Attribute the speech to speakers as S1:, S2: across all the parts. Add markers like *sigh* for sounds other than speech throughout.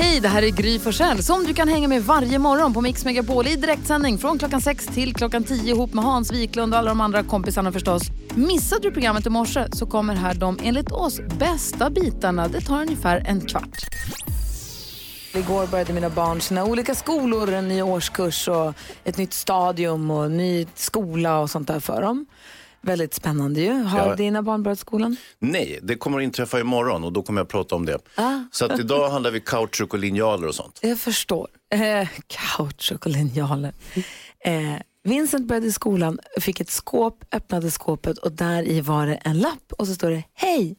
S1: Hej, det här är Gry Forssell som du kan hänga med varje morgon på Mix Megapol i direktsändning från klockan 6 till klockan 10 ihop med Hans Wiklund och alla de andra kompisarna förstås. Missade du programmet i morse så kommer här de enligt oss bästa bitarna. Det tar ungefär en kvart.
S2: Igår började mina barn sina olika skolor, en ny årskurs och ett nytt stadium och ny skola och sånt där för dem. Väldigt spännande ju. Har
S3: Ja.
S2: dina barn börjat skolan?
S3: Nej, det kommer att inträffa imorgon och då kommer jag att prata om det. Så att idag handlar vi kautschuk och linjaler och sånt.
S2: Jag förstår. Eh, *laughs* kautschuk och linjaler. Eh, Vincent började i skolan, fick ett skåp, öppnade skåpet och där i var det en lapp och så står det Hej!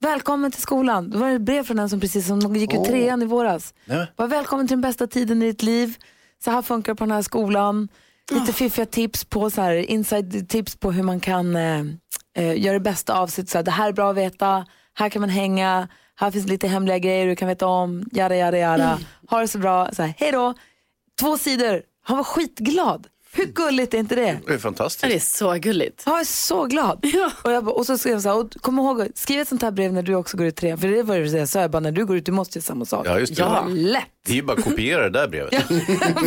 S2: Välkommen till skolan. Det var ett brev från den som precis som gick ut trean i våras.
S3: Nej.
S2: Var välkommen till den bästa tiden i ditt liv. Så här funkar det på den här skolan. Lite fiffiga tips på så här, inside tips på hur man kan eh, eh, göra det bästa av sitt. Så här, det här är bra att veta. Här kan man hänga. Här finns lite hemliga grejer du kan veta om. Jada, jada, jada. Ha det så bra. Så här, hej då. Två sidor. Han var skitglad. Hur gulligt är inte det?
S3: Det är
S4: Det
S3: fantastiskt.
S4: är så gulligt.
S2: Han var så glad. Och, jag bara, och så skrev jag så här, och kom ihåg, att skriva ett sånt här brev när du också går ut trean. För det var det jag sa, jag bara, när du går ut, du måste göra samma sak.
S3: Ja, just det.
S4: Ja.
S2: *laughs* Lätt.
S3: Det är ju bara att kopiera det där brevet.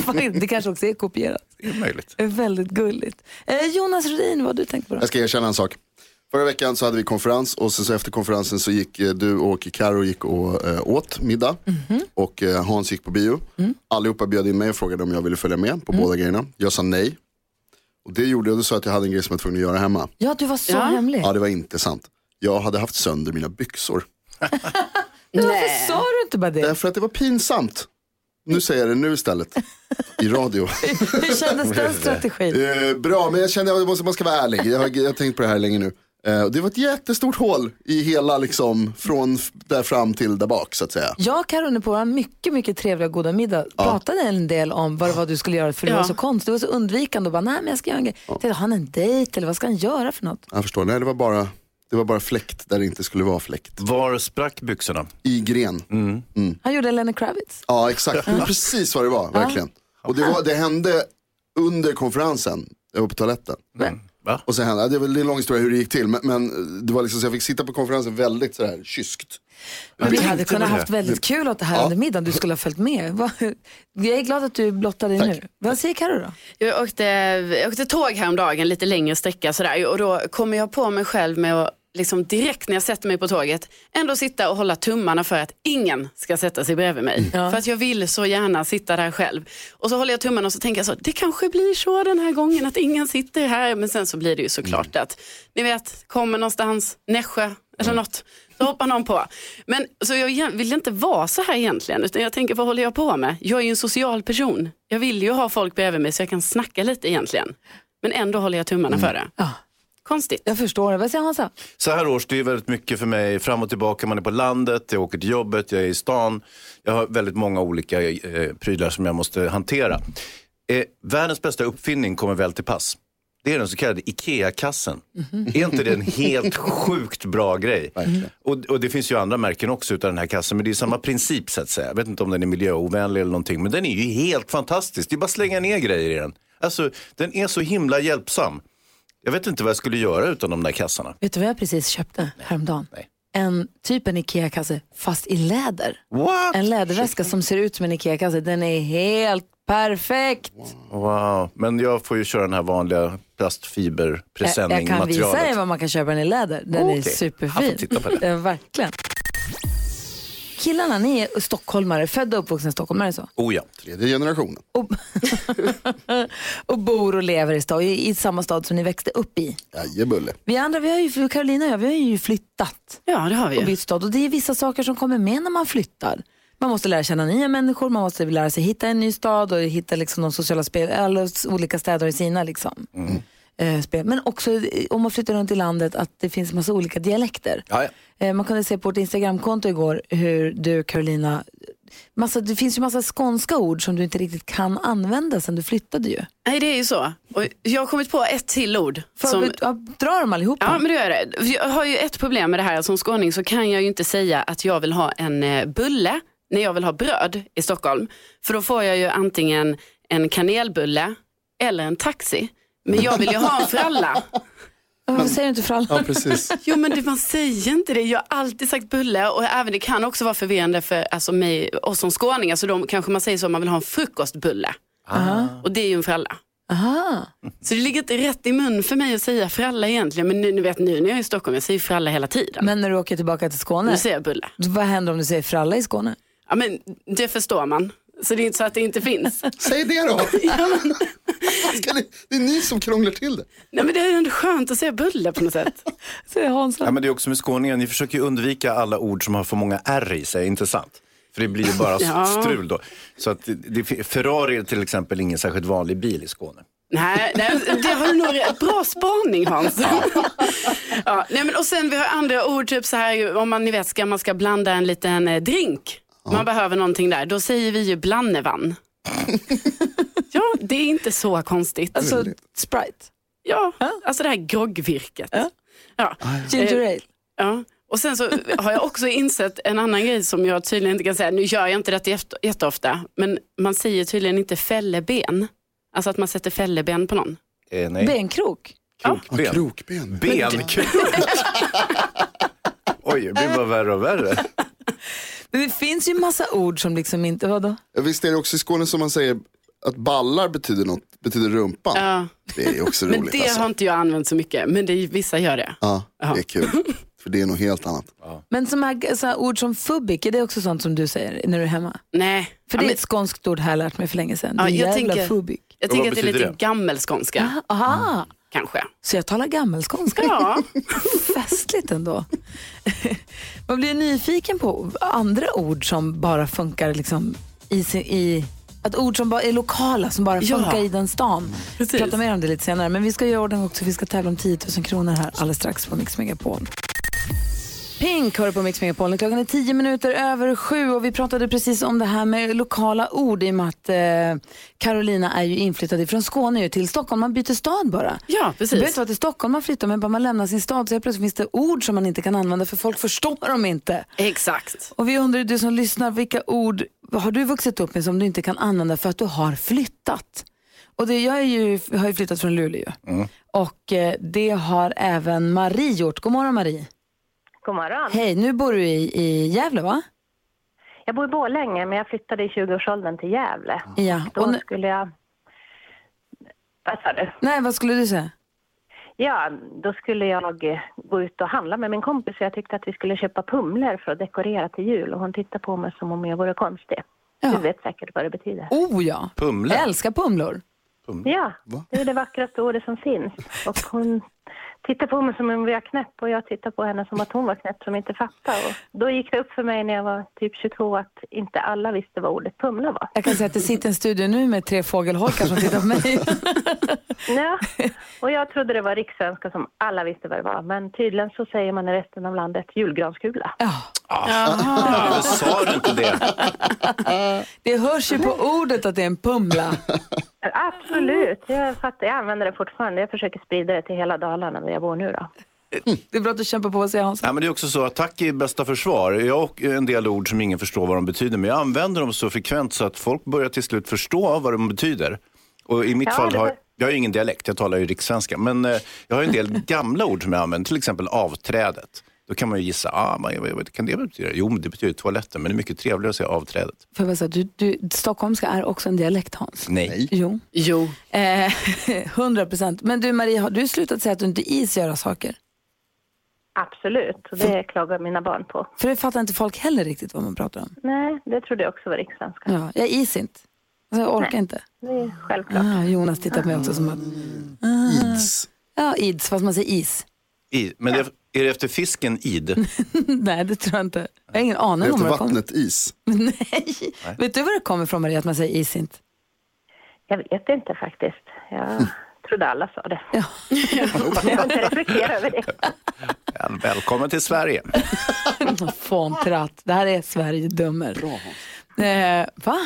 S2: Faktiskt, det kanske också är kopierat.
S3: Det är möjligt.
S2: Det är Väldigt gulligt. Eh, Jonas Rudin, vad har du tänkt på då?
S5: Jag ska erkänna en sak. Förra veckan så hade vi konferens och sen så efter konferensen så gick eh, du och Karo gick och eh, åt middag och eh, Hans gick på bio. Allihopa bjöd in mig och frågade om jag ville följa med på båda grejerna. Jag sa nej. Och det gjorde jag, då sa jag att jag hade en grej som jag var tvungen att göra hemma.
S2: Ja, du var så
S4: Ja.
S2: hemlig.
S5: Ja, det var inte sant. Jag hade haft sönder mina byxor.
S2: Men varför sa du inte bara det?
S5: Därför att det var pinsamt. Nu säger jag det nu istället. I radio.
S2: Hur kändes
S3: *laughs*
S2: den strategin?
S5: Eh, bra, men jag kände att jag måste- man ska vara ärlig. Jag har, jag har tänkt på det här länge nu. Eh, och det var ett jättestort hål i hela, liksom, från f- där fram till där bak så att säga.
S2: Jag och Karo under på vår mycket, mycket trevliga och goda middag pratade en del om vad det var du skulle göra för du
S4: Ja.
S2: var så konstig. Du var så undvikande och bara, nej men jag ska göra en grej. Tänkte, Har han en dejt eller vad ska han göra för något?
S5: Jag förstår, nej det var bara, det var bara fläkt där det inte skulle vara fläkt.
S3: Var sprack byxorna?
S5: I gren.
S2: Han gjorde Lenny Kravitz.
S5: Ja, exakt. Det var precis vad det var, verkligen. Och det, var, det hände under konferensen, jag var på toaletten.
S3: Va?
S5: Och så hände, ja, det är väl- det är en lång historia hur det gick till, men, men det var liksom så jag fick sitta på konferensen väldigt sådär kyskt.
S2: Men vi
S3: tänkte
S2: hade kunnat
S3: på det.
S2: haft väldigt kul åt det här under middagen. Du skulle ha följt med. Va- Jag är glad att du blottade dig nu. Vad säger Karo då?
S4: Jag åkte, jag åkte tåg häromdagen, lite längre sträcka sådär. Och då kommer jag på mig själv med att liksom direkt när jag sätter mig på tåget ändå sitta och hålla tummarna för att ingen ska sätta sig bredvid mig. För att jag vill så gärna sitta där själv. Och så håller jag tummarna och så tänker jag så, det kanske blir så den här gången att ingen sitter här. Men sen så blir det ju såklart att, ni vet, kommer någonstans, Nässjö eller något, så hoppar någon på. Men så jag egent- vill inte vara så här egentligen, utan jag tänker vad håller jag på med? Jag är ju en social person. Jag vill ju ha folk bredvid mig så jag kan snacka lite egentligen. Men ändå håller jag tummarna för det.
S2: Ja.
S4: Konstigt.
S2: Jag förstår det. Vad säger Hansa?
S3: Så här års, det är väldigt mycket för mig fram och tillbaka. Man är på landet, jag åker till jobbet, jag är i stan. Jag har väldigt många olika eh, prylar som jag måste hantera. Eh, världens bästa uppfinning kommer väl till pass. Det är den så kallade IKEA-kassen. Är inte det en helt sjukt bra grej? Och, och det finns ju andra märken också utav den här kassen, men det är samma princip så att säga. Jag vet inte om den är miljöovänlig eller någonting, men den är ju helt fantastisk. Det är bara att slänga ner grejer i den. Alltså, den är så himla hjälpsam. Jag vet inte vad jag skulle göra utan de där kassarna.
S2: Vet du vad jag precis köpte häromdagen? En typ en IKEA-kasse fast i läder.
S3: What?
S2: En läderväska som ser ut som en IKEA-kasse. Den är helt perfekt.
S3: Wow, men jag får ju köra den här vanliga
S2: Jag, jag kan visa dig
S3: plastfiberpresenning-materialet.
S2: vad man kan köpa den i läder. Den är
S3: Okej. Jag
S2: superfin.
S3: får titta på den.
S2: den. Verkligen. Killarna, ni är stockholmare, födda och uppvuxna i Stockholm, är det så?
S3: Oh ja.
S5: Tredje generationen.
S2: Och, och bor och lever i, stad, i, i samma stad som ni växte upp i.
S5: Jajebulle.
S2: Vi andra, vi har ju, Carolina och jag, vi har ju flyttat.
S4: Ja, det har vi
S2: och
S4: ju.
S2: bytt stad. Och det är vissa saker som kommer med när man flyttar. Man måste lära känna nya människor, man måste lära sig hitta en ny stad och hitta liksom de sociala spel, alla s- olika städer i sina liksom.
S3: Mm.
S2: eh, spel. Men också eh, om man flyttar runt i landet att det finns massa olika dialekter.
S3: Ja, ja.
S2: Eh, Man kunde se på vårt Instagramkonto igår hur du Carolina massa, det finns ju massa skånska ord som du inte riktigt kan använda sen du flyttade ju.
S4: Nej, det är ju så. Och jag har kommit på ett till ord.
S2: För,
S4: som...
S2: ja, dra dem allihopa.
S4: Ja, men det gör det. Jag har ju ett problem med det här. Som skåning så kan jag ju inte säga att jag vill ha en eh, bulle när jag vill ha bröd i Stockholm. För då får jag ju antingen en kanelbulle eller en taxi. Men jag vill ju ha en fralla.
S2: Varför säger du inte för alla?
S6: Ja, precis.
S4: Jo men det, man säger inte det. Jag har alltid sagt bulle och även det kan också vara förvirrande för alltså, mig, oss som skåningar. Så de kanske man säger så, man vill ha en frukostbulle. Och det är ju en fralla.
S2: Aha.
S4: Så det ligger inte rätt i mun för mig att säga fralla egentligen. Men nu, ni vet, nu när jag är i Stockholm, jag säger fralla hela tiden.
S2: Men när du åker tillbaka till Skåne,
S4: Nu säger jag bulle.
S2: vad händer om du säger fralla i Skåne?
S4: Ja, men det förstår man. Så det är inte så att det inte finns.
S5: Säg det då!
S4: *laughs*
S5: Vad ska ni, det är ni som krånglar till det.
S4: Nej, men det är ändå skönt att säga bulle på något sätt.
S2: Säger Hansson.
S3: Ja, men det är också med skåningar, ni försöker ju undvika alla ord som har för många R i sig, inte sant? För det blir ju
S2: *laughs*
S3: bara
S4: Ja.
S3: strul då. Så att det- det, Ferrari är till exempel ingen särskilt vanlig bil i Skåne.
S4: Nej, nej, det har du nog rätt- bra spaning Hans. Ja, nej, men, och sen vi har andra ord, typ så här om man ni vet ska man ska blanda en liten eh, drink. Man behöver någonting där. Då säger vi ju *laughs* blandevann. ja, det är inte så konstigt.
S2: Alltså Sprite,
S4: Ja, alltså det här groggvirket.
S2: Ja.
S4: Ja.
S2: ginger ale.
S4: Eh. Ja. Och sen så har jag också insett en annan grej som jag tydligen inte kan säga. Nu gör jag inte detta jätte- jätteofta, men man säger tydligen inte fälleben. Alltså att man sätter fälleben på någon.
S3: Eh, nej,
S2: Benkrok.
S5: Ja,
S3: krokben.
S5: krokben.
S2: *laughs*
S3: Benkrok. Oj, det blir bara värre och värre.
S2: Men det finns ju massa ord som liksom inte, vadå?
S5: Visst är det också i Skåne som man säger att ballar betyder något, betyder rumpan.
S4: Ja.
S5: Det är ju *laughs* också
S4: Men
S5: roligt
S4: det
S5: alltså.
S4: har inte jag använt så mycket, men det är, vissa gör det.
S5: Ja, det är kul. För det är något helt annat.
S2: Men som här, så här ord som fubbik, är det också sånt som du säger när du är hemma?
S4: Nej,
S2: För
S4: ja,
S2: det är
S4: men,
S2: ett skånskt ord här lärt mig för länge sedan.
S4: Ja,
S2: Din
S4: jag
S2: jävla
S4: tänker-
S2: fubbik.
S4: jag
S3: Och vad
S4: tänker att det är lite
S3: betyder det?
S4: gammelskånska,
S2: Aha, *laughs*
S4: kanske.
S2: så jag talar gammelskånska.
S4: Ja,
S2: *laughs* Festligt ändå. *laughs* Man blir nyfiken på andra ord som bara funkar liksom i, sin, i att ord som bara är lokala, som bara
S4: Ja.
S2: funkar i den stan. Vi
S4: Precis.
S2: pratar mer om det lite senare, men vi ska göra ordning också. Vi ska tävla om 10 000 kronor här alldeles strax på Mix Megapol. Pink hör du på Mix Megapol. Klockan är tio minuter över sju och vi pratade precis om det här med lokala ord i och med att eh, Carolina är ju inflyttad från Skåne ju till Stockholm. Man byter stad bara.
S4: ja
S2: Det behöver
S4: precis.
S2: inte vara till Stockholm man flyttar, men bara man lämnar sin stad så helt plötsligt finns det ord som man inte kan använda för folk förstår dem inte.
S4: Exakt.
S2: Och vi undrar, du som lyssnar, vilka ord har du vuxit upp med som du inte kan använda för att du har flyttat? Och det, jag är ju, har ju flyttat från Luleå och eh, det har även Marie gjort. God morgon Marie.
S7: God morgon.
S2: Hej, nu bor du i, i Gävle va?
S7: Jag bor i Borlänge, men jag flyttade i 20-årsåldern till Gävle.
S2: Ja.
S7: Då
S2: Mm. Och, nu-
S7: skulle jag... Vad sa du?
S2: nej, vad skulle du säga?
S7: Ja, då skulle jag eh, gå ut och handla med min kompis. Jag tyckte att vi skulle köpa pumlor för att dekorera till jul. Och hon tittade på mig som om jag vore konstig.
S2: Ja.
S7: Du vet säkert vad det betyder.
S2: Oh ja,
S3: Pumla.
S2: jag älskar pumlor.
S7: Ja, det är det vackraste ordet som finns. Och hon tittade på mig som om jag var knäpp och jag tittade på henne som att hon var knäpp som inte fattade. Och då gick det upp för mig när jag var typ 22 att inte alla visste vad ordet pumla var.
S2: Jag kan säga att det sitter en studio nu med tre fågelholkar som tittar på *laughs* mig.
S7: Ja, och jag trodde det var rikssvenska som alla visste vad det var. Men tydligen så säger man i resten av landet julgranskula.
S2: ja.
S3: Ja, men sa du inte det?
S2: Det hörs ju på ordet att det är en pumla.
S7: Absolut, jag, fattar, jag använder det fortfarande. Jag försöker sprida det till hela Dalarna där jag bor nu då.
S2: Det är bra att du kämpar på, säger Hans.
S3: Nej, men det är också så, attack är bästa försvar. Jag har en del ord som ingen förstår vad de betyder, men jag använder dem så frekvent så att folk börjar till slut förstå vad de betyder. Och i mitt
S7: Ja,
S3: fall
S7: det
S3: har
S7: var-
S3: jag har ju ingen dialekt, jag talar ju rikssvenska, men eh, jag har en del
S7: *laughs*
S3: gamla ord som jag använder, till exempel avträdet. Då kan man ju gissa, ah, man, vad, vad kan det betyda? Jo, men det betyder toaletten, men det är mycket trevligare att säga avträdet.
S2: Får jag bara säga, du, du, stockholmska är också en dialekt, Hans.
S3: Nej.
S2: Jo,
S4: Jo.
S2: eh, *laughs* 100 procent. Men du Marie, har du slutat säga att du inte is göra saker?
S7: Absolut, och det klagar mina barn på.
S2: För det fattar inte folk heller riktigt vad man pratar om.
S7: Nej, det trodde jag också var rikssvenska.
S2: Ja, jag is inte. Alltså, jag orkar inte.
S7: Det är självklart.
S2: Ah, Jonas tittar på mig också som att, ah.
S5: Ids.
S2: ja ids, fast man säger is. *laughs*
S3: I, men det, är det efter fisken id?
S2: Nej, det tror jag inte. Jag har ingen
S5: Det
S2: aning om
S5: heter
S2: var det kommer. *laughs*
S5: vattnet is.
S2: Nej. Vet du var det kommer från Marie, att man säger is inte?
S7: Jag vet inte faktiskt. Jag trodde alla sa det.
S2: Ja. *laughs*
S7: Jag har inte reflekterat över det.
S3: Ja, Välkommen till Sverige.
S2: Fåntratt. Det här är Sverige dömer. Eh,
S5: *laughs*
S2: va?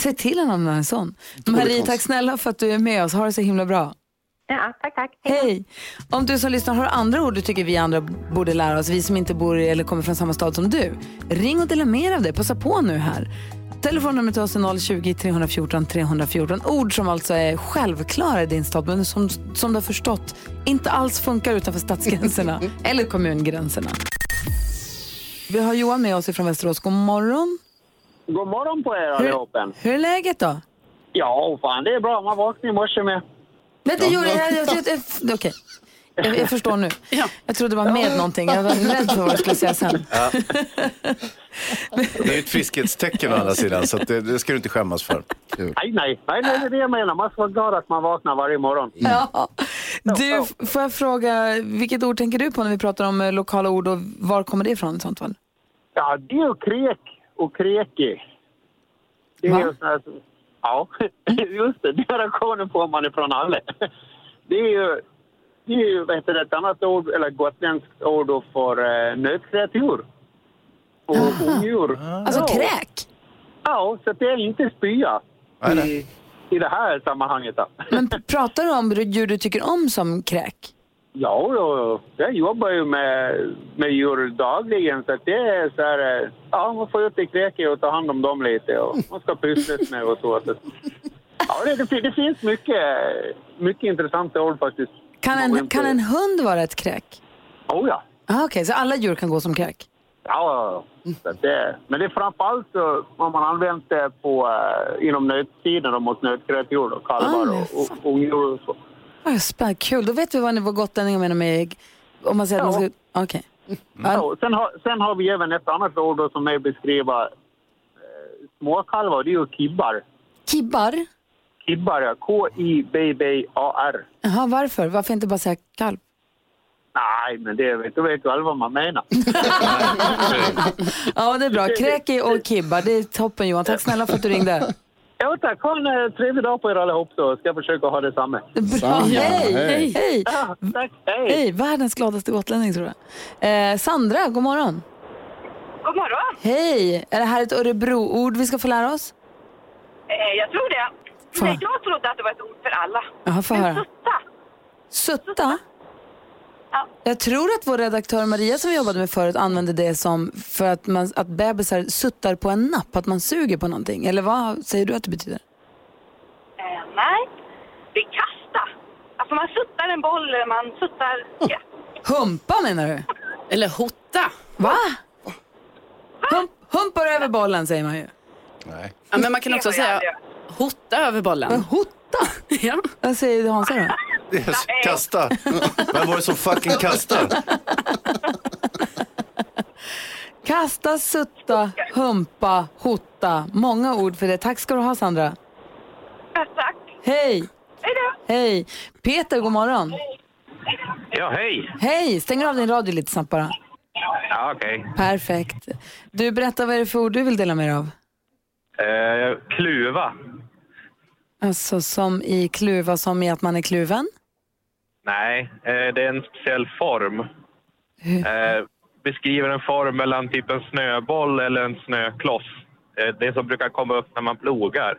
S2: Se till honom när han är sån. Marie, tack snälla för att du är med oss. Ha det så himla bra.
S7: Ja, tack, tack.
S2: Hej! Om du som lyssnar har andra ord du tycker vi andra borde lära oss, vi som inte bor i eller kommer från samma stad som du, ring och dela med er av det. Passa på nu här. Telefonnumret till oss är 020-314 314. Ord som alltså är självklara i din stad, men som, som du har förstått inte alls funkar utanför stadsgränserna eller kommungränserna. Vi har Johan med oss från Västerås. God morgon!
S8: God morgon på er allihopen.
S2: Hur är läget då?
S8: Ja, fan det är bra. Man vaknade i morse med.
S2: Nej, det gjorde jag. jag, jag, jag f- Okej. Jag, jag
S8: *laughs*
S2: förstår nu. Jag trodde det var med någonting. Jag var rädd för vad du skulle
S8: *laughs*
S2: säga sen.
S3: Det är ju ett friskhetstecken å andra sidan, så att det, det ska du inte skämmas för.
S8: Nej, nej, nej, nej, det är det jag menar. Man ska vara glad att man vaknar varje morgon.
S2: Ja. Du, f- får jag fråga, vilket ord tänker du på när vi pratar om eh, lokala ord och var kommer det ifrån i sånt fall?
S8: Ja, det är ju krek och kreki. Det är
S2: Va?
S8: ju sån här... Ja, *laughs* just det. Den reaktionen får man ifrån alla. Det är ju, det är ju vet du, ett annat ord, eller gotländskt ord då för eh, nötkreatur. Och odjur.
S2: Alltså
S8: Ah. Ja.
S2: kräk?
S8: Ja, så det är inte spya i, i det här sammanhanget. Då.
S2: Men pratar du om djur du tycker om som kräk?
S8: Ja, ja, jag jobbar ju med, med djur dagligen så att det är så här, eh, ja man får ut i kräket och ta hand om dem lite och man ska pysslas med och så. så. att- Ja, det, det, fin- det finns mycket, mycket intressanta ord faktiskt.
S2: Kan en, kan en hund vara ett kräk?
S8: Oh, ja.
S2: Ah, Okej, så alla djur kan gå som kräk?
S8: Ja, ja, ja. Så att det, men det är framförallt så har man använt det på, eh, inom nötsidan och mot nötkreatur och kalvar
S2: Ah,
S8: och och ungdjur och så.
S2: Ah, spännande. Kul, då vet vi vad ni var gotlänningar menar med om man säger att man
S8: Ja.
S2: ska... Okej. Ja.
S8: Ja, sen, har, sen har vi även ett annat ord då som är beskriva eh, småkalvar. Det är ju kibbar.
S2: Kibbar?
S8: Kibbar, ja. K-I-B-B-A-R.
S2: Jaha, varför? Varför inte bara säga kalv?
S8: Nej, men det vet, då vet du väl vad man menar.
S2: *laughs* Ja, det är bra. Kräki och kibbar, det är toppen Johan. Tack snälla för att du ringde.
S8: ja, tack. Ha en eh, trevlig dag på er allihop så ska jag försöka ha detsamma.
S2: Bra. Hej, hej,
S5: Hej.
S2: hej.
S8: Ja, tack. Hej.
S2: Hej, världens gladaste gotlänning tror jag. Eh, Sandra, god morgon.
S7: God morgon.
S2: Hej, är det här ett Örebroord vi ska få lära oss?
S7: Eh, jag tror det.
S2: Fan.
S7: Nej, jag trodde att det var ett ord för alla.
S2: Jaha, få
S7: Men
S2: höra.
S7: sutta.
S2: Sutta?
S7: Ja.
S2: Jag tror att vår redaktör Maria som vi jobbade med förut använde det som för att, man, att bebisar suttar på en napp, att man suger på någonting. Eller vad säger du att det betyder?
S7: Eh, nej, det är kasta. Alltså man suttar en boll, eller man suttar... Ja.
S2: Humpa menar du?
S4: Eller hota.
S2: Va? Hump, humpar över bollen säger man ju.
S3: Nej.
S4: Ja, men man kan
S7: Det
S4: också
S7: har jag
S4: säga
S7: aldrig
S4: hota över
S2: Men
S4: bollen.
S2: hotta?
S4: *laughs* Ja.
S2: Vad säger Hansa då?
S3: Det är så- Kasta! Vem var det som fucking kastade?
S2: Kasta, sutta, humpa, hotta. Många ord för det. Tack ska du ha Sandra.
S7: Tack.
S2: Hej!
S7: Hej då.
S2: Hej! Peter, god morgon.
S8: Ja, hej.
S2: Hej! Stänger av din radio lite snabbt bara.
S8: Ja, okej.
S2: Perfekt. Du, berätta vad är det för ord du vill dela med dig av?
S8: Eh, kluva.
S2: Alltså som i kluva, som i att man är kluven?
S8: Nej, eh, det är en speciell form. Eh, beskriver en form mellan typ en snöboll eller en snökloss. Eh, det som brukar komma upp när man plogar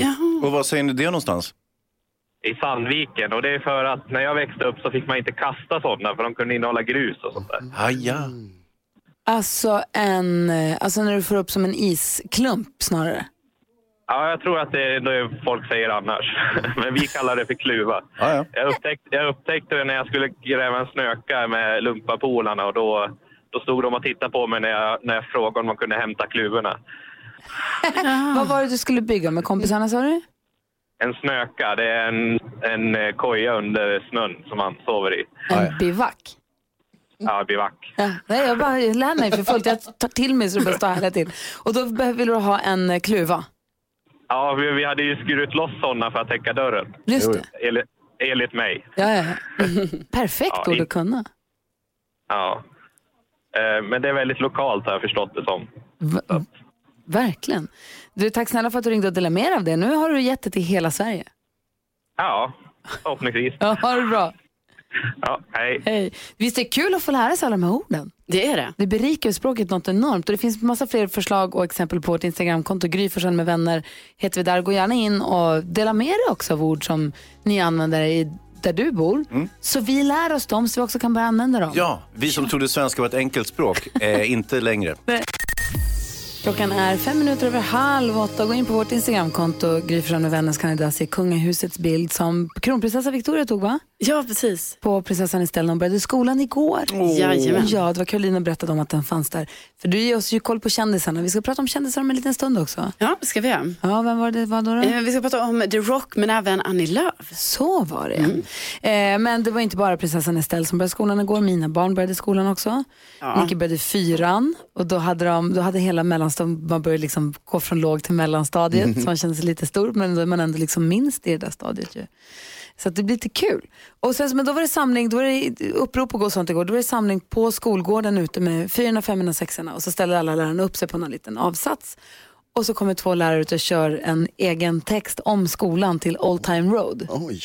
S4: Jaha.
S3: Och var säger ni det någonstans?
S8: i Sandviken. Och det är för att när jag växte upp så fick man inte kasta sådana för de kunde innehålla grus och sånt där.
S3: Aja.
S2: Alltså en, eh, alltså när du får upp som en isklump snarare.
S8: Ja, jag tror att det är det folk säger annars. *laughs* Men vi kallar det för kluva.
S3: Ah, Ja, ja.
S8: Jag upptäckte, jag upptäckte det när jag skulle gräva en snöka med lumpapolarna och då, då stod de och tittade på mig när jag, när jag frågade om de kunde hämta kluvorna.
S2: Vad var det du skulle bygga med kompisarna sa du?
S8: En snöka, det är en, en eh, koja under snön som man sover i.
S2: En
S3: Ja, ja.
S2: bivack.
S8: Ja, bivack.
S2: Ja, nej, jag bara jag lär mig för fullt. Jag tar till mig så det bara står härliga till. Och då behöver du ha en eh, kluva.
S8: Ja, vi, vi hade ju skurit loss sådana för att täcka dörren,
S2: Just det.
S8: enligt, enligt mig.
S2: Ja, ja. ja. Perfekt
S8: Ja,
S2: ord
S8: i-
S2: att kunna.
S8: Ja. Eh, Men det är väldigt lokalt har jag förstått det som.
S2: V- verkligen. Du, tack snälla för att du ringde och delade med dig av det. Nu har du gett det till hela Sverige.
S8: Ja, förhoppningsvis.
S2: Ja, ha det bra.
S8: Ja, hej.
S2: Hej. Visst är det kul att få lära sig alla de här orden?
S4: Det är det.
S2: Det berikar ju språket något enormt och det finns massa fler förslag och exempel på vårt Instagramkonto, Gry Forssell med vänner heter vi där. Gå gärna in och dela med er också av ord som ni använder i, där du bor. Så vi lär oss dem så vi också kan börja använda dem.
S3: Ja, vi som trodde svenska var ett enkelt språk, eh, inte längre.
S2: Klockan är fem minuter över halv åtta. Gå in på vårt Instagramkonto, Gry Forssell med vänner, så kan ni där se kungahusets bild som kronprinsessa Victoria tog va?
S4: Ja, precis.
S2: På prinsessan Estelle när hon började skolan igår.
S4: Jajamän.
S2: Ja, det var Karolina berättade om att den fanns där. För du ger oss ju koll på kändisarna. Vi ska prata om kändisar om en liten stund också.
S4: Ja, det ska vi göra.
S2: Ja, vem var det var då? då?
S4: Eh, Vi ska prata om The Rock men även Annie Lööf.
S2: Så var det eh, Men det var inte bara prinsessan Estelle som började skolan igår. Mina barn började skolan också. Micke började fyran och då hade, de, då hade hela mellanstadiet, man började liksom gå från låg till mellanstadiet som känns lite stort men då är man ändå liksom minst i det där stadiet ju. Så att det blir lite kul. Och sen, så- men då var det samling, då var det upprop och gå och sånt igår. Då var det samling på skolgården ute med fyrorna, femmorna, sexorna och så ställer alla lärarna upp sig på någon liten avsats. Och så kommer två lärare ut och kör en egen text om skolan till Old Time Road
S5: Oj.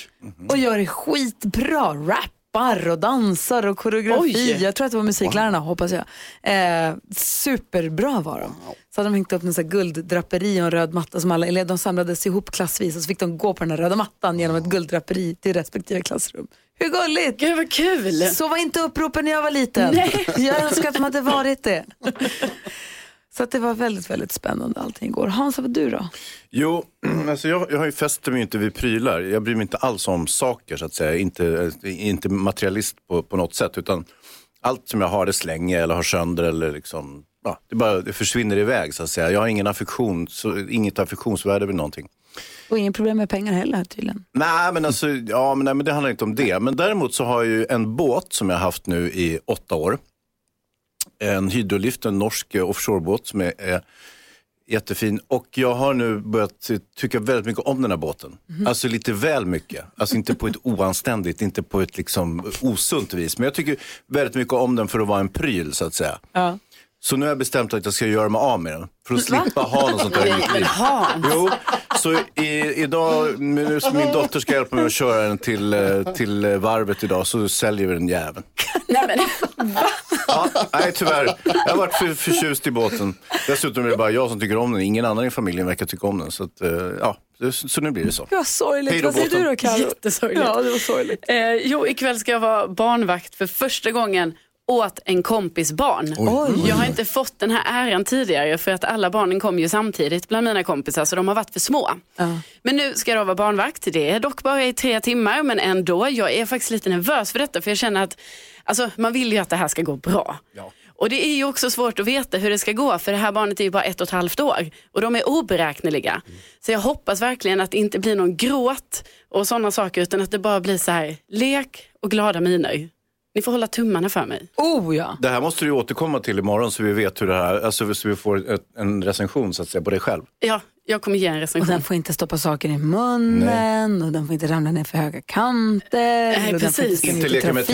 S2: och gör det skitbra. Rappar och dansar och koreografi.
S4: Oj.
S2: Jag tror att det var musiklärarna, hoppas jag. Eh, superbra var de. Så hade de hängt upp en sån här gulddraperi och en röd matta som alla elever, de samlades ihop klassvis och så fick de gå på den här röda mattan genom ett gulddraperi till respektive klassrum. Hur gulligt!
S4: Gud vad kul!
S2: Så var inte uppropen när jag var liten. Jag önskar att de hade varit det. Så att det var väldigt, väldigt spännande allting igår. Hans, vad du då?
S3: Jo, *clears throat* alltså jag, jag har ju fäster mig ju inte vid prylar. Jag bryr mig inte alls om saker så att säga. Inte, eh, inte materialist på, på något sätt. Utan allt som jag har det slänger jag eller har sönder eller liksom, ja, det bara det försvinner iväg så att säga. Jag har ingen affektion, så, inget affektionsvärde vid någonting.
S2: Och inga problem med pengar heller tydligen.
S3: Nej men, alltså, ja, men, nej, men det handlar inte om det. Men däremot så har jag ju en båt som jag har haft nu i åtta år. En hydrolift, en norsk eh, offshorebåt som är, är jättefin. Och jag har nu börjat eh, tycka väldigt mycket om den här båten. Alltså lite väl mycket. Alltså inte på ett oanständigt, inte på ett liksom osunt vis. Men jag tycker väldigt mycket om den för att vara en pryl så att säga.
S2: Ja.
S3: Så nu har jag bestämt att jag ska göra mig av med den. För att slippa ha något sånt där i mitt liv. Jo, så i, idag, min, min dotter ska hjälpa mig att köra den till, eh, till eh, varvet idag, så säljer vi den jäveln.
S4: Nej, men,
S3: Ja, nej, tyvärr. Jag har varit för förtjust i båten. Dessutom är det bara jag som tycker om den. Ingen annan i familjen verkar tycka om den. Så, att, eh, ja, så- så nu blir det så.
S2: Det var sorgligt.
S3: Hej då,
S2: Vad säger du
S3: båten.
S2: då Carro?
S4: Jättesorgligt.
S2: Ja, det var sorgligt.
S4: eh, jo, ikväll ska jag vara barnvakt för första gången åt en kompis barn. Jag har inte fått den här äran tidigare för att alla barnen kom ju samtidigt bland mina kompisar så de har varit för små. Men nu ska jag då vara barnvakt. Det är dock bara i tre timmar men ändå. Jag är faktiskt lite nervös för detta för jag känner att alltså, man vill ju att det här ska gå bra. Och det är ju också svårt att veta hur det ska gå för det här barnet är ju bara ett och ett halvt år och de är oberäkneliga. Så jag hoppas verkligen att det inte blir någon gråt och sådana saker utan att det bara blir så här lek och glada miner. Ni får hålla tummarna för mig.
S2: Oh ja.
S3: Det här måste du ju återkomma till imorgon så vi vet hur det här, alltså så vi får ett, en recension så att säga på dig själv.
S4: Ja, jag kommer ge en
S2: Och
S4: recension.
S2: den får inte stoppa saker i munnen och den får inte ramla ner för höga kanter. och den får
S4: precis.
S2: inte,
S3: Inte leka med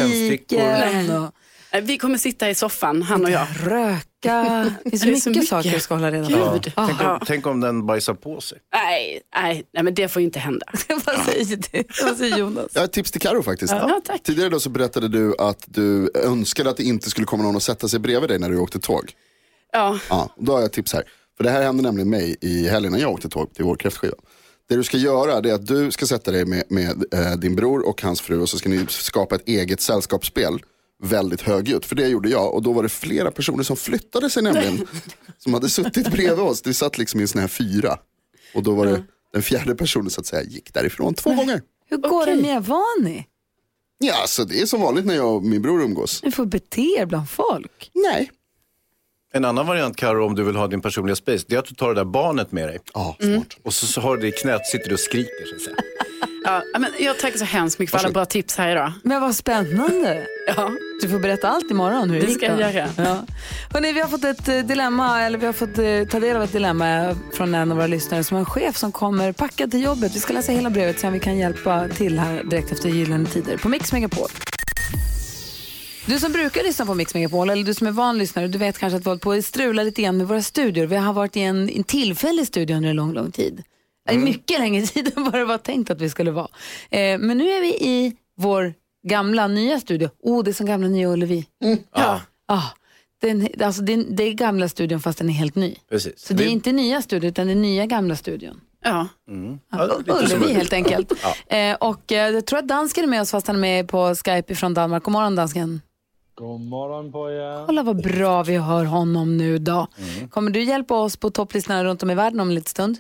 S2: tändstickor. Och
S4: Eh, Vi kommer sitta i soffan, han och jag.
S2: röka. *laughs* Det finns
S4: Det är
S2: mycket,
S4: så mycket.
S2: saker jag ska hålla reda på. *laughs*
S4: Gud.
S3: Tänk, om, tänk om den bajsar på sig.
S4: Nej, nej, nej, men det får ju inte hända.
S2: Vad säger du? Vad säger Jonas?
S5: Jag har ett tips till Karo faktiskt.
S4: Ja, tack.
S5: Tidigare då så berättade du att du önskade att det inte skulle komma någon och sätta sig bredvid dig när du åkte tåg.
S4: Ja,
S5: Ja, då har jag ett tips här. För det här hände nämligen mig i helgen när jag åkte tåg till vår kräftskiva. Det du ska göra det är att du ska sätta dig med, med eh, din bror och hans fru och så ska ni skapa ett eget sällskapsspel väldigt högljutt. För det gjorde jag och då var det flera personer som flyttade sig nämligen. som hade suttit bredvid oss. Det satt liksom i en sån här fyra. Och då var det den fjärde personen så att säga gick därifrån två gånger.
S2: Hur går det med er vanor?
S5: Ja, så det är som vanligt när jag och min bror umgås.
S2: Ni får bete er bland folk.
S5: Nej.
S3: En annan variant Karo, om du vill ha din personliga space, det är att du tar det där barnet med dig. Mm.
S5: Ja, smart.
S3: Och så, så har du det i knät, sitter du och skriker. Så att säga.
S4: ja, men jag tackar så hemskt mycket för alla bra tips här idag.
S2: Men vad spännande.
S4: Ja,
S2: Du får berätta allt imorgon hur det
S4: Det ska
S2: gick då.
S4: jag göra.
S2: Ja. Hörrni, vi har fått ett eh, dilemma, eller vi har fått eh, ta del av ett dilemma från en av våra lyssnare som har en chef som kommer packad till jobbet. Vi ska läsa hela brevet sen vi kan hjälpa till här direkt efter Gyllene Tider på Mix Megapol. Du som brukar lyssna på Mix Megapol, eller du som är van lyssnare, du vet kanske att vi har hållit på att strula lite igen med våra studior. Vi har varit i en, en tillfällig studio under en lång, lång tid. *laughs* Mm. Mycket längre tid än vad det var tänkt att vi skulle vara. Eh, men nu är vi i vår Gamla, nya studion. Oh, det är som gamla Nya Ullevi.
S3: Ja,
S2: Ah, den, alltså, det, är- det är gamla studion fast den är helt ny.
S3: precis.
S2: Så det är inte nya studion utan det är nya gamla studion.
S4: Ja.
S3: Ja, det är lite som
S2: Ullevi
S3: en-
S2: helt enkelt. eh, och eh, jag tror att dansken är med oss fast han är med på Skype från Danmark. God morgon dansken.
S8: God morgon på er.
S2: Kolla vad bra vi hör honom nu då.
S3: Mm.
S2: Kommer du hjälpa oss på topplistorna runt om i världen om en liten stund?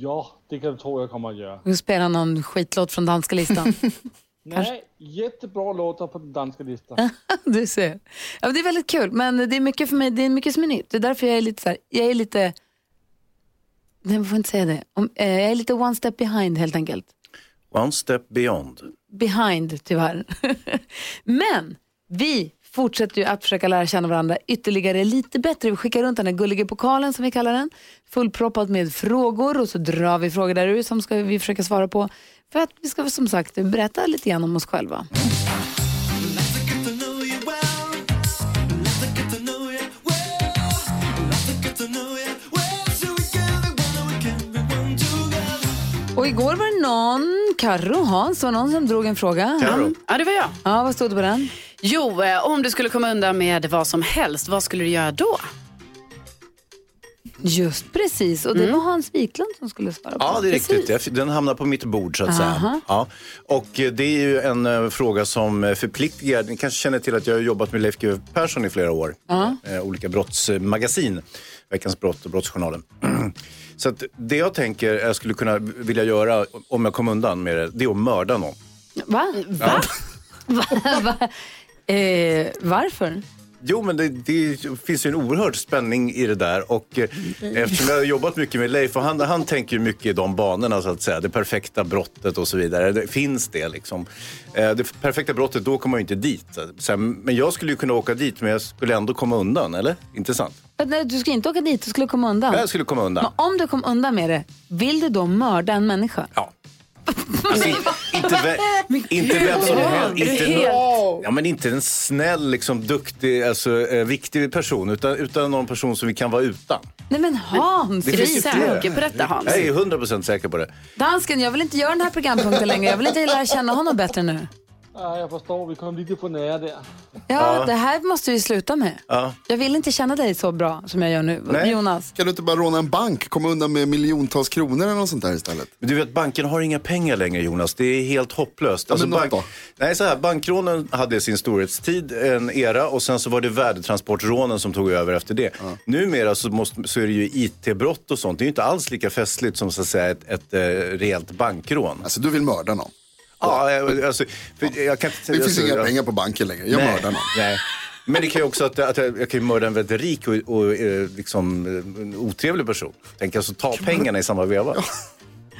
S8: Ja, det kan du tro jag kommer att göra.
S2: Du spelar någon skitlåt från
S3: *laughs*
S2: danska listan.
S8: Nej, jättebra låtar på den danska listan.
S2: du ser. Ja, men det är väldigt kul, men det är mycket för mig, det är mycket som är nytt. Det är därför jag är lite så här, jag är lite, nej man får inte säga det. Om, eh, jag är lite one step behind helt enkelt.
S3: One step beyond.
S2: behind tyvärr. *laughs* Men vi fortsätter ju att försöka lära känna varandra ytterligare lite bättre. Vi skickar runt den här gulliga pokalen som vi kallar den, fullproppad med frågor och så drar vi frågor där ur som ska vi försöka svara på. För att vi ska som sagt berätta lite grann om oss själva. Och igår var det någon, Karro Hans, var någon som drog en fråga.
S3: Karo,
S4: ja, det var jag.
S2: Ja, vad stod det på den?
S4: Jo, eh, om du skulle komma undan med vad som helst, vad skulle du göra då?
S2: Just precis, och det var Hans Wiklund som skulle svara på
S3: Ja, det är
S2: Precis.
S3: riktigt. Jag- Den hamnar på mitt bord så att säga. Ja. Och eh, det är ju en eh, fråga som eh, förpliktigar. Ni kanske känner till att jag har jobbat med Leif GW Persson i flera år. Eh, Olika brottsmagasin. Veckans brott och Brottsjournalen. *clears throat* så att det jag tänker jag skulle kunna vilja göra om jag kom undan med det, det är att mörda någon.
S2: Va? Va? *laughs* Va? eh, varför?
S3: Jo, men det, det finns ju en oerhörd spänning i det där. Och eh, eftersom jag har jobbat mycket med Leif, och han, han tänker ju mycket i de banorna, så att säga. Det perfekta brottet och så vidare. Det, finns det liksom? Eh, det perfekta brottet, då kommer man ju inte dit. Så här, men jag skulle ju kunna åka dit, men jag skulle ändå komma undan, eller? Inte sant?
S2: Att Nej, du ska inte åka dit, du skulle komma undan.
S3: Jag skulle komma undan.
S2: Men om du kom undan med det, vill du då mörda en människa?
S3: Ja. Alltså, i- inte, vä- inte vem som helst. Inte, nå- ja, men inte en snäll, liksom, duktig, alltså, eh, viktig person, utan, utan någon person som vi kan vara utan.
S2: Nej men Hans,
S3: Det
S4: Är du
S3: finns ju flera.
S4: säker på detta Hans?
S3: Jag är 100 procent säker på det.
S2: dansken, jag vill inte göra den här programpunkten längre. Jag vill inte lära känna honom bättre nu.
S8: Ja, jag förstår, vi kom lite för nära där.
S2: Ja, det här måste vi sluta med.
S3: Ja.
S2: Jag vill inte känna dig så bra som jag gör nu,
S3: Nej.
S2: Jonas.
S5: Kan du inte bara råna en bank, komma undan med miljontals kronor eller något sånt där istället?
S3: Men du vet, banken har inga pengar längre Jonas. Det är helt hopplöst. Alltså,
S5: men något då?
S3: Nej, så här, bankrånen hade sin storhetstid, en era, och sen så var det värdetransportrånen som tog över efter det. Numera så, måste, så är det ju IT-brott och sånt. Det är ju inte alls lika festligt som så att säga ett, ett eh, rejält bankrån.
S5: Alltså du vill mörda någon.
S3: Ja, eh, alltså, för, jag kan inte,
S5: Det finns
S3: alltså,
S5: inga
S3: jag-
S5: pengar på banken längre, jag
S3: Nej,
S5: mördar någon.
S3: Nej. Men det kan ju också att, att jag, jag kan ju mörda en väldigt rik och, och eh, liksom, eh, en otrevlig person. Tänk alltså ta pengarna i samma veva.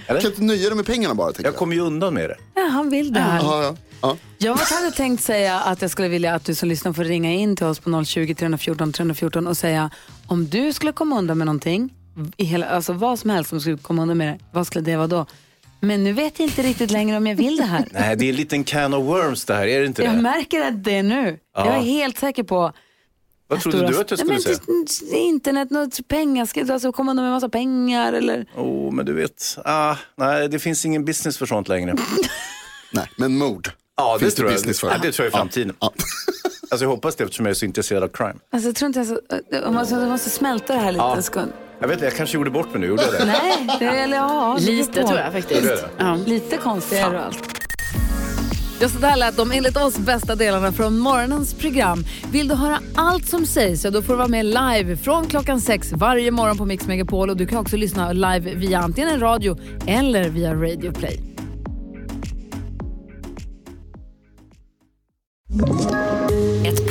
S5: Kan du inte nöja dig med pengarna bara? Tänker
S3: Jag
S5: jag
S3: kommer ju undan med det.
S2: Ja, han vill det här.
S5: Ja, ja. ja.
S2: Jag hade tänkt säga att jag skulle vilja att du som lyssnar får ringa in till oss på 020 314 314 och säga om du skulle komma undan med någonting, i hela, alltså vad som helst som skulle komma undan med det, vad skulle det vara då? Men nu vet jag inte riktigt längre om jag vill det här.
S3: *laughs* Nej, det är en liten can of worms det här, är det inte
S2: Jag
S3: det?
S2: märker att det är nu. Jag är helt säker på...
S3: Vad trodde du att jag skulle
S2: Nej,
S3: säga?
S2: men säga? Internet, något pengar, ska- alltså komma undan med en massa pengar eller...
S3: Åh, oh, men du vet. Ah, nej, det finns ingen business för sånt längre. Alltså,
S5: Nej, men mord.
S3: Ja,
S5: Finns det business för
S3: Ja,
S5: det?
S3: det tror jag i framtiden.
S5: Ja.
S3: Alltså jag hoppas det eftersom jag är så intresserad av crime.
S2: Alltså jag tror inte ens... Jag måste, jag måste smälta det här lite en sekund.
S3: Jag vet inte, jag kanske gjorde bort mig nu, gjorde jag det?
S2: Nej, det, eller ja, det beror
S4: Lite
S2: på.
S4: tror jag faktiskt.
S3: Är det det?
S4: Ja.
S2: Lite konstigare och allt. Ja, så där lät de enligt oss bästa delarna från morgonens program. Vill du höra allt som sägs, ja, då får du vara med live från klockan sex varje morgon på Mix Megapol. Och du kan också lyssna live via antingen en radio eller via Radio Play.
S9: Ett